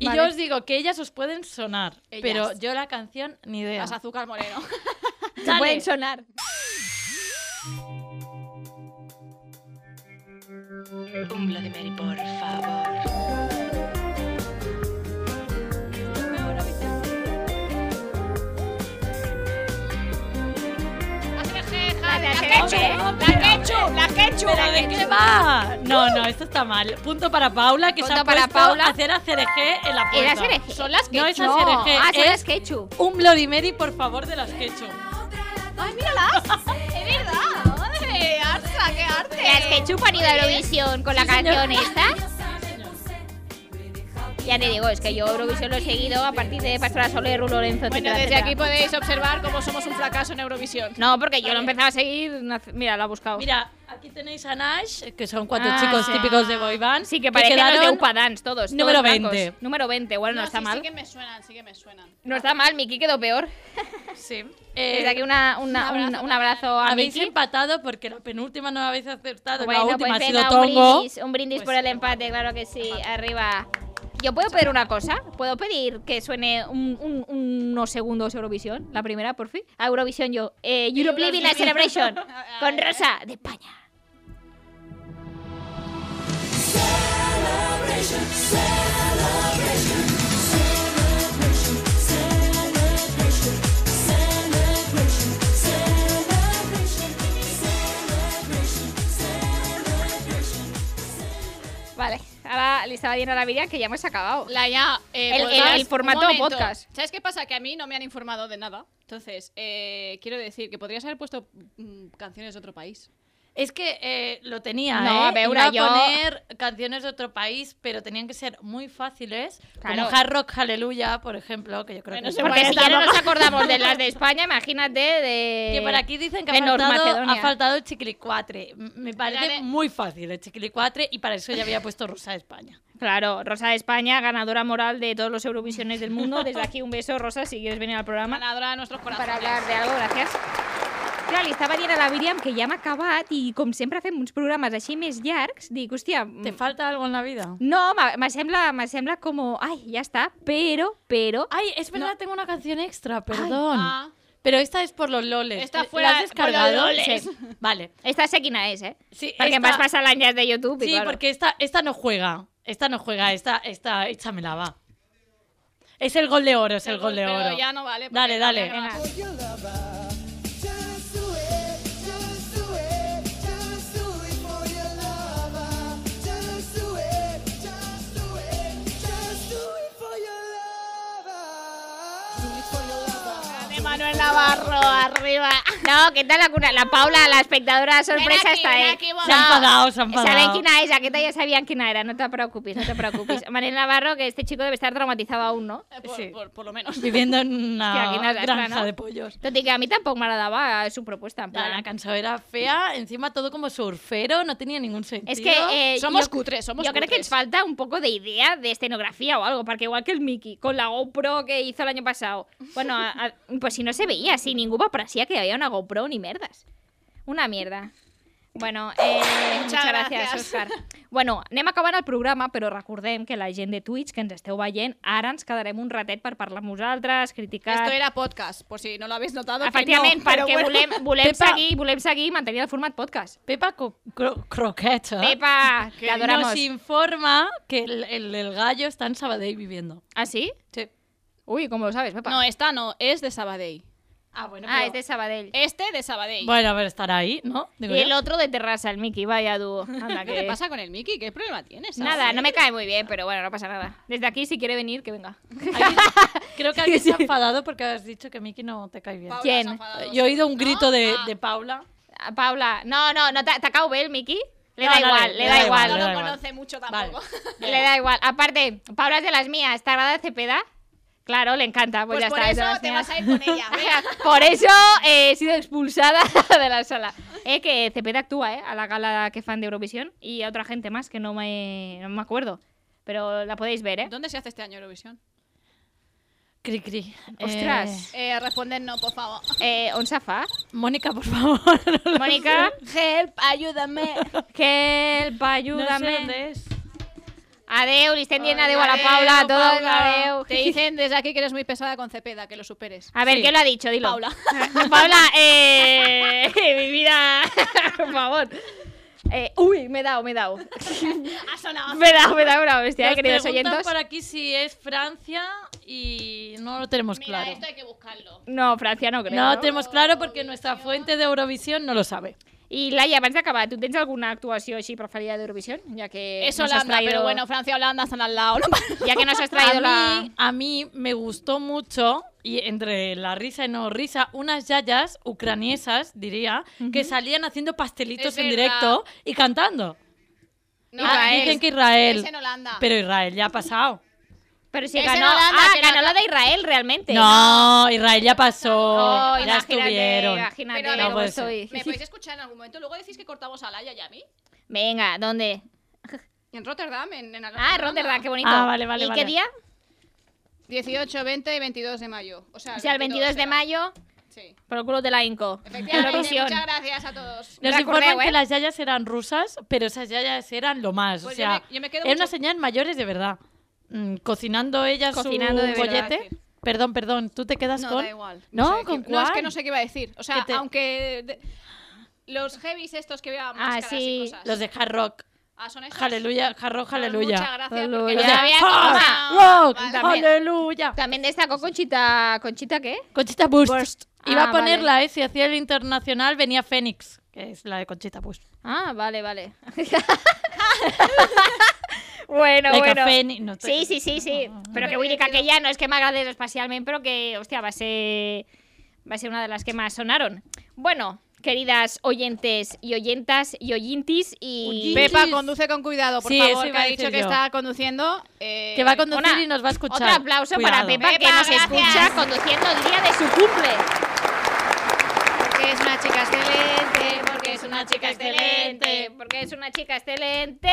S3: Y
S4: Vale.
S3: yo os digo que ellas os pueden sonar,
S6: Ellas.
S3: pero yo la canción ni idea.
S6: Las azúcar moreno.
S3: *laughs* Dale.
S4: sonar.
S10: Un de Mary, por favor.
S4: La de
S3: Ketchup.
S4: La ketchup, la ketchup.
S3: ¿Pero de qué va? No, no, esto está mal. Punto para Paula, que se
S4: Punto
S3: ha
S4: para
S3: puesto
S4: Paula.
S3: a hacer a CRG en la puerta.
S4: Era Sereg. Son las
S3: No,
S4: ketchup.
S3: esas Sereg,
S4: Ah, son
S3: es-
S4: las ketchup.
S3: Un Bloody Mary, por favor, de las Ketchup.
S4: Ay, míralas. Es verdad. Madre, Arsa, qué arte. Las ketchup han ido a Eurovisión con la canción esta. Ya te digo, es que yo Eurovisión lo he seguido a partir de Pastora Soler, Rulo Lorenzo,
S6: Bueno,
S4: etcétera,
S6: desde
S4: etcétera.
S6: aquí podéis observar cómo somos un fracaso en Eurovisión.
S4: No, porque yo lo empezaba a seguir. no hace- Mira, lo ha buscado.
S3: Mira, aquí tenéis a Nash, que son cuatro
S4: Ah,
S3: chicos
S4: sí.
S3: típicos de boy band.
S4: sí, que parecen los de
S3: quedaron-
S4: Upa Dance, todos. todos
S3: número
S4: blancos.
S3: 20.
S4: Número 20, bueno, no,
S6: No,
S4: está
S6: sí,
S4: mal.
S6: Sí que me suenan, sí que me suenan.
S4: No está mal, Miki quedó peor.
S3: Sí.
S4: Desde aquí una, una-
S6: un abrazo
S4: un, un abrazo a
S3: habéis
S4: Miki.
S3: empatado porque la penúltima no habéis acertado.
S4: Bueno,
S3: la última
S4: pues
S3: ha sido
S4: venga,
S3: Tongo.
S4: Un brindis, un brindis por el empate, claro que sí. Arriba. Yo puedo pedir una cosa. Puedo pedir que suene un- un- unos segundos Eurovisión. La primera, por fin. A Eurovisión yo. Eh, Europe Living la Celebration. con Rosa de España. Vale. Ahora le estaba diciendo a la Miriam que ya hemos acabado.
S6: La ya. eh,
S4: El-
S6: podcast.
S4: el- el formato
S6: Un momento.
S4: podcast.
S6: ¿Sabes qué pasa? Que a mí no me han informado de nada. Entonces, eh, quiero decir que podrías haber puesto mm, canciones de otro país.
S3: Es que eh, lo tenía,
S4: No,
S3: ¿eh?
S4: a ver,
S3: Iba
S4: yo-
S3: poner canciones de otro país, pero tenían que ser muy fáciles.
S4: Claro.
S3: Como Hard Rock Hallelujah, por ejemplo, que yo creo
S6: Bueno,
S3: que...
S6: se
S4: Porque
S6: Bueno,
S4: si ya no nos
S3: *laughs*
S4: acordamos de las de España, imagínate de.
S3: Que por aquí dicen que
S4: de
S3: ha
S4: North
S3: faltado,
S4: Macedonia.
S3: ha faltado el chiquilicuatre. M- Me parece
S6: Era de-
S3: muy fácil el chiquilicuatre y para eso ya había puesto Rosa de España.
S4: Claro, Rosa de España, ganadora moral de todos los Eurovisiones del mundo. Desde aquí un beso, Rosa, si quieres venir al programa.
S6: Ganadora de nuestros corazones.
S4: para hablar de algo, gràcies. Clar, li estava dient a la Míriam que ja hem acabat i com sempre fem uns programes així més llargs, dic, hòstia...
S3: ¿Te falta algo en la vida?
S4: No, me me sembla, me sembla com... Ai, ja està, pero, pero...
S3: Ay, es verdad, tengo una canción extra, perdón.
S6: Ah,
S3: Pero esta es por los loles.
S6: Esta
S3: ¿La
S6: fuera-
S3: has descargado?
S6: por los loles.
S3: Sí. Vale.
S4: Esta sé quina és, eh?
S3: Sí,
S4: Perquè
S3: esta-
S4: em vas passar l'any de YouTube i
S3: Sí,
S4: claro.
S3: porque esta, esta no juega. Esta no juega, esta, esta, échamela, va. Es el gol de oro, es el gol de
S11: Pero
S3: oro.
S11: ya no vale, porque
S3: Dale,
S11: no
S3: dale.
S11: le ganas.
S6: De Manuel Navarro, arriba.
S4: No, què tal la, cuna- la Paula, l'espectadora sorpresa
S6: aquí,
S4: està,
S6: ven
S4: eh?
S6: aquí, bona.
S3: S'ha enfadat, s'ha enfadat.
S4: Saben quina és, aquesta ja sabien quina era, no te preocupis, no te
S6: *laughs*
S4: preocupis. Manel Navarro, que este chico debe estar traumatizado aún, no?
S6: Eh, Por,
S3: Sí.
S6: por- por lo menos.
S3: Viviendo en una
S4: Hòstia, quina desgrana,
S3: granja
S4: no?
S3: de pollos.
S4: Tot i que a mi tampoc m'agradava su propuesta,
S3: La,
S4: en plan...
S3: la canción era fea, encima todo como surfero, no tenía ningún sentido.
S4: És que... Eh,
S6: Somos
S4: jo-
S6: cutres, somos
S4: Yo creo que
S6: cutres.
S4: les falta un poco de idea de escenografía o algo, porque igual que el Mickey, con la GoPro que hizo el año pasado. Bueno, a- a- pues si no se veía, si ninguno parecía que había una GoPro ni mierdas. Una mierda. Bueno,
S6: *laughs*
S4: eh, muchas, gràcies,
S6: gràcies.
S4: Òscar. Bueno, anem acabant el programa, però recordem que la gent de Twitch que ens esteu veient, ara ens quedarem un ratet per parlar amb vosaltres, criticar...
S6: Esto era podcast, por si no lo habéis notado. que
S4: Efectivament,
S6: no, pero
S4: perquè
S6: bueno.
S4: volem, volem,
S3: Pepa-
S4: seguir, volem seguir i mantenir el format podcast.
S3: Pepa Co- Cro- Croqueta
S4: Pepa, que adoramos.
S3: nos informa que el, el del gallo está en Sabadell viviendo.
S4: ¿Ah, sí?
S3: Sí.
S4: Uy, ¿cómo lo sabes,
S6: *laughs*
S4: Pepa?
S6: No, esta no, es de Sabadell.
S3: Ah, bueno, pues
S4: ah, es de Sabadell.
S6: Este de Sabadell.
S3: Bueno, a ver, estará ahí, ¿no? Digo
S4: Y
S3: yo.
S4: el otro de terraza, el Mickey, vaya dúo. Anda,
S6: ¿Qué
S4: que-
S6: te pasa con el Mickey? ¿Qué problema tienes?
S4: Nada, no me cae muy bien, pero bueno, no pasa nada. Desde aquí, si quiere venir, que venga.
S3: *laughs* Creo que alguien se ha enfadado porque has dicho que Miki no te cae bien. Eh,
S6: Paula
S4: ¿Quién?
S6: se ha enfadado.
S3: Yo he oído un grito de, de Paula.
S4: Ah, Paula, no, no, no, ¿te te ha caído bien, Mickey? Le
S3: No,
S4: da
S3: no,
S4: igual, le da
S3: le
S4: igual.
S6: No
S3: da
S6: lo
S3: igual.
S6: conoce mucho tampoco. Pues
S4: Le da igual. Aparte, Paula es de las mías, ¿te agrada Cepeda? Claro, le encanta, pues,
S6: Pues
S4: ya
S6: por
S4: está. es de
S6: eso
S4: las
S6: te
S4: mías.
S6: vas a ir con
S4: *laughs*
S6: ella, venga.
S4: por eso eh, he sido expulsada *laughs* de la sala. Eh, que Cepeda actúa, ¿eh? A la gala que fan de Eurovisión y a otra gente más que no me, no me acuerdo. Pero la podéis ver, ¿eh?
S6: ¿Dónde se hace este año Eurovisión?
S3: Cri cri.
S4: Ostras.
S6: Eh, responder no, por favor.
S4: Eh, on se fa?
S3: Eh, Mónica, por favor. *laughs* no lo
S4: Mónica,
S6: Help, ayúdame.
S4: help,
S3: sé. No sé
S4: ayúdame.
S3: dónde es.
S4: Adeu, li estem dient adeu a la Paula, a todos,
S3: Paula.
S4: adeu.
S6: Te dicen desde aquí que eres muy pesada con Cepeda, que lo superes.
S4: A ver,
S3: Sí.
S4: ¿qué lo ha dicho? Dilo.
S6: Paula.
S4: *laughs* Paula, eh, *laughs* mi vida, por favor. Eh, uy, me he dado, me he dado.
S6: Ha sonado.
S4: Me he dado, me he dado una bestia, eh,
S3: Nos
S4: queridos
S3: preguntan
S4: oyentes.
S3: por aquí si es Francia y no lo tenemos
S6: Mira,
S3: claro.
S6: esto hay que buscarlo.
S4: No, Francia no creo.
S3: No
S4: No,
S3: lo tenemos claro porque nuestra fuente de Eurovisión no lo sabe.
S4: I Laia, abans d'acabar, tu tens alguna actuació així preferida d'Eurovisió? Ja que
S6: Es
S4: Eh, nos has
S6: Holanda,
S4: traído-
S6: pero bueno, Francia y Holanda están al lado. *laughs*
S4: Ya que nos has
S3: A
S4: traído la...
S3: mí, a mí me gustó mucho, y entre la risa y no risa, unas yayas ucraniesas, diría, que salían haciendo
S6: Es
S3: pastelitos en
S6: verdad.
S3: directo y cantando.
S6: No,
S3: Ah,
S6: Israel.
S3: dicen que Israel.
S6: Es en Holanda.
S3: Pero Israel ya ha pasado.
S4: Pero si
S6: Es
S4: ganó...
S6: en Holanda,
S4: ah,
S6: que no-
S4: ganó la de Israel, realmente.
S3: No, Israel ya pasó.
S4: Oh,
S3: ya
S4: imagínate,
S3: estuvieron.
S4: imagínate
S6: Pero a ver,
S4: cómo
S3: no puede ser.
S4: estoy.
S6: ¿Me podéis escuchar en algún momento? Luego decís que cortamos a Laia y a mí.
S4: Venga, ¿dónde?
S6: En Rotterdam, en, en
S4: Ah, Rotterdam, qué bonito.
S3: Ah, vale, vale,
S4: ¿Y
S3: vale.
S4: qué día?
S6: 18, 20 y 22 de mayo. O sea,
S4: O sea, el 22 de
S6: será.
S4: mayo,
S6: Sí.
S4: por el culo de la Inco.
S6: Efectivamente,
S4: Eurovisión.
S6: muchas gracias a todos.
S3: Nos
S4: Recordeu,
S3: informan
S4: eh?
S3: que las yayas eran rusas, pero esas yayas eran lo más.
S6: Pues yo
S3: o sea,
S6: me- yo me quedo
S3: eran
S6: mucho-
S3: unas señas mayores de verdad. Mm, cocinando ellas
S4: Cocinando
S3: su
S4: de verdad.
S3: bollete. Perdón, perdón, tú te quedas
S6: No,
S3: con.
S6: da igual.
S3: No,
S6: sé
S3: ¿con
S6: qué- no, es que
S3: cuál?
S6: no sé qué iba a decir. O sea,
S3: Que te-
S6: aunque de- los heavies estos que vean máscaras
S4: Ah, sí.
S6: y cosas.
S3: Los de hard rock.
S6: Ah, son esos.
S3: Aleluya, hard rock,
S6: Pues
S3: aleluya.
S6: Muchas gracias.
S4: Aleluya.
S6: Porque
S3: Los
S6: ya
S3: de
S4: Ya
S6: había
S4: como
S3: hard
S6: una-
S3: rock,
S6: Vale.
S3: aleluya.
S4: También destacó Conchita... ¿Conchita qué?
S3: Conchita Burst. Iba
S4: Ah,
S3: a ponerla,
S4: vale.
S3: eh, si hacía el internacional venía Fénix, que es la de Conchita Burst.
S4: Ah, vale, vale. *laughs* bueno,
S3: Like a
S4: bueno.
S3: Phoenix, no te-
S4: Sí, sí, sí, sí. Però que vull dir que aquella no és que m'agradés especialment, però que, hòstia, va ser, va ser una de les que más sonaron. Bueno, queridas oyentes y oyentas y oyintis y...
S6: Pepa, conduce con cuidado, por
S3: Sí, eso
S6: favor, que
S3: iba a
S6: ha
S3: decir
S6: dicho que
S3: yo.
S6: está conduciendo. eh,
S3: Que va a conducir
S4: Ona,
S3: y nos va a escuchar.
S4: Otro aplauso para
S3: Cuidado.
S4: Pepa, que
S6: Pepa,
S4: nos
S6: gracias.
S4: escucha conduciendo el día de su cumple.
S6: Porque es una chica excelente, porque es una chica excelente.
S4: porque es una chica excelente.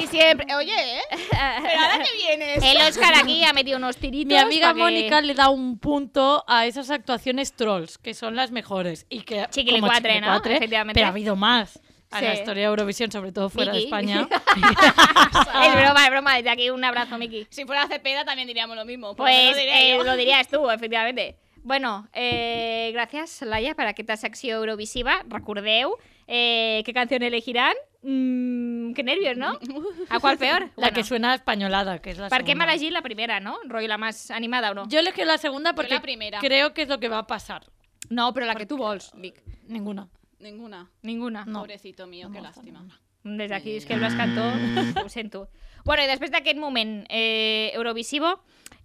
S6: Y siempre. Oye, ¿eh? Pero ahora
S4: *laughs*
S6: que vienes.
S3: Eh.
S4: El Oscar aquí ha metido unos tiritos.
S3: Mi amiga
S4: pa' que-
S3: Mónica le da un punto a esas actuaciones trolls, que son las mejores. Y que, como
S4: Chiquilicuatre, ¿no?
S3: chiquilicuatre,
S4: Efectivamente.
S3: Pero ha habido más a la
S4: Sí.
S3: historia de Eurovisión, sobre todo fuera
S4: Miki.
S3: de
S4: *laughs*
S3: España.
S4: *laughs* Es broma, es broma. Desde aquí un abrazo, Miki.
S6: Si fuera Cepeda también diríamos lo mismo. por lo
S4: Pues
S6: menos diría
S4: eh,
S6: yo.
S4: lo dirías tú, efectivamente. Bueno, eh, gràcies, Laia, per aquesta secció Eurovisiva. Recordeu eh, què canció elegiran. Mm, que nervios, no? ¿A cuál peor?
S3: La
S4: Bueno,
S3: que suena españolada, que es la
S4: ¿Para qué me
S3: segunda.
S4: elegí la primera, no? Roy, la más animada o no?
S3: Yo elegí la segunda porque
S6: la primera.
S3: creo que es lo que va a pasar.
S4: No, pero la que tú vols.
S6: Vic.
S3: Ninguna.
S6: Ninguna.
S4: Ninguna.
S3: No.
S6: Pobrecito mío, qué lástima.
S4: Des d'aquí, és que Blas Cantó, ho sento. Bueno, i després d'aquest moment eh, eurovisivo,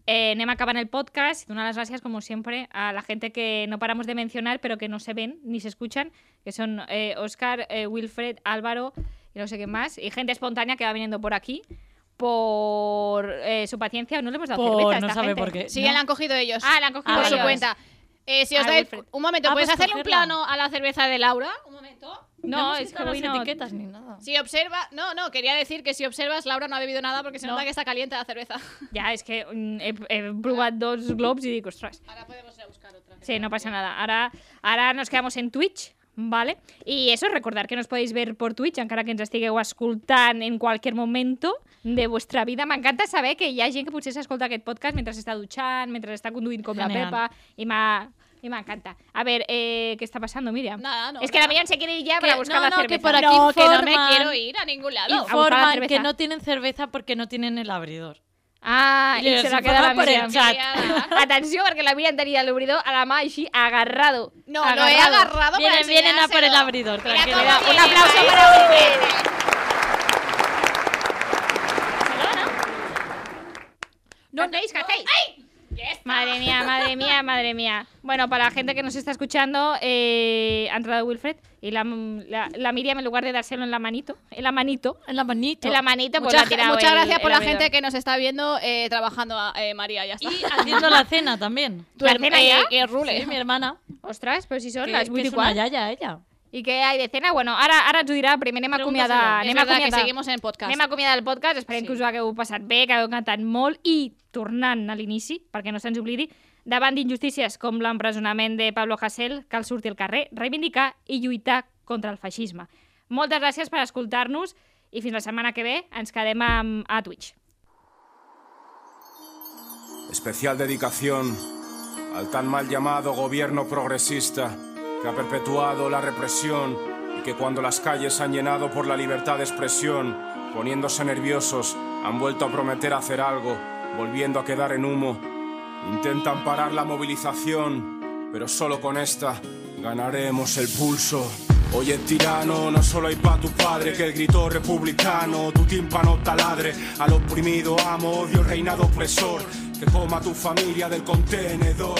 S4: eh, anem acabant el podcast i donar les gràcies, com sempre, a la gent que no paramos de mencionar, però que no se ven ni se escuchan, que són eh, Oscar, eh, Wilfred, Álvaro y no sé qué más, y gente espontánea que va viniendo por aquí, por eh, su paciencia. No le hemos dado
S3: Por-
S4: cerveza a
S3: no
S4: esta
S3: sabe
S4: gente.
S3: por qué.
S6: Sí,
S3: No.
S6: la han cogido ellos.
S4: Ah, la han cogido
S6: por su
S4: ellos.
S6: cuenta. Eh, si os
S4: Ah,
S6: dais
S4: Wilfred.
S6: un momento,
S3: Ah,
S6: ¿puedes
S3: pues
S6: hacerle un
S3: cogerla.
S6: plano a la cerveza de Laura? Un momento.
S4: No,
S3: hemos
S4: es que
S3: quitado
S4: hoy
S3: las
S4: no...
S3: etiquetas ni nada.
S6: Si observa, no, no, quería decir que si observas, Laura no ha bebido nada porque se
S4: No.
S6: nota que está caliente la
S3: *laughs*
S6: cerveza.
S4: Ja, és que mm, he, he provat dos globs i dic, ostres,
S6: Ahora podemos ir a buscar otra.
S4: Sí, no pasa nada. Ahora, ahora nos quedamos en Twitch, ¿vale? Y eso, recordar que nos podéis ver por Twitch, encara que ens estigueu escoltant en cualquier momento de vuestra vida. M'encanta saber que hi ha gent que potser s'escolta aquest podcast mentre s'està dutxant, mentre està conduint com
S3: Genial.
S4: la Pepa, i m'ha- i m'encanta. A ver, eh, ¿qué está pasando, Miriam?
S6: Nada, no,
S4: es que em la
S6: nada.
S4: Miriam se quiere ir ya para
S3: Que-
S4: buscar
S3: no,
S4: la
S3: no, que
S4: cerveza.
S3: por aquí
S6: No, que no me
S3: forman-
S6: quiero ir a ningún lado.
S4: buscar la
S3: Informan que
S4: cerveza.
S3: no tienen cerveza porque no tienen el abridor.
S4: Ah,
S3: I
S4: i
S3: les
S4: se la queda la
S3: informen per
S4: Miriam.
S3: el chat.
S4: Atenció, perquè la Miriam tenia l'obridor a la mà així, agarrado.
S6: No, lo he agarrado para
S3: Vienen, vienen a por el
S6: enseñárselo.
S3: abridor, tranquila.
S6: cómo
S4: Un
S6: viene,
S4: aplauso
S6: ¿eh?
S4: para Wilfred. No, no, ¿qué hacéis? Madre mía, madre mía, madre mía. Bueno, para la gente que nos está escuchando, eh, ha entrado Wilfred y la, la, la Miriam, en lugar de dárselo en la manito, en la manito,
S3: En la manito.
S4: en la manito, pues
S6: Mucha-
S4: lo ha tirado
S6: muchas
S4: el-
S6: gracias por la
S4: el abridor.
S6: gente que nos está viendo eh, trabajando, a- eh, María, ya está.
S3: Y haciendo la cena también.
S6: Tu
S4: ¿La
S6: her-
S4: cena
S6: eh,
S4: ya?
S6: que rule.
S3: Sí, mi hermana.
S4: Ostras, pero si son
S3: que-
S4: las
S3: que
S4: 8
S3: es
S4: i
S3: una
S4: quart.
S3: yaya ella.
S4: I què hi ha de cena? Bueno, ara, ara ens ho dirà. Primer anem a
S6: Es
S4: acomiadar. Anem a
S6: verdad que
S4: acomiadar.
S6: seguimos en el podcast.
S4: Anem a acomiadar el podcast, esperem
S6: Sí.
S4: que us ho hagueu passat bé, que hagueu cantat molt i tornant a l'inici, perquè no se'ns oblidi, davant d'injustícies com l'empresonament de Pablo Hasél, cal sortir al carrer, reivindicar i lluitar contra el feixisme. Moltes gràcies per escoltar-nos i fins la setmana que ve ens quedem a, a Twitch.
S5: Especial dedicación al tan mal llamado gobierno progresista que ha perpetuado la represión y que cuando las calles se han llenado por la libertad de expresión, poniéndose nerviosos, han vuelto a prometer hacer algo, volviendo a quedar en humo. Intentan parar la movilización, pero solo con esta ganaremos el pulso. Oye tirano, no solo hay pa' tu padre que el grito republicano, tu tímpano taladre, al oprimido amo, odio reinado opresor, que coma tu familia del contenedor.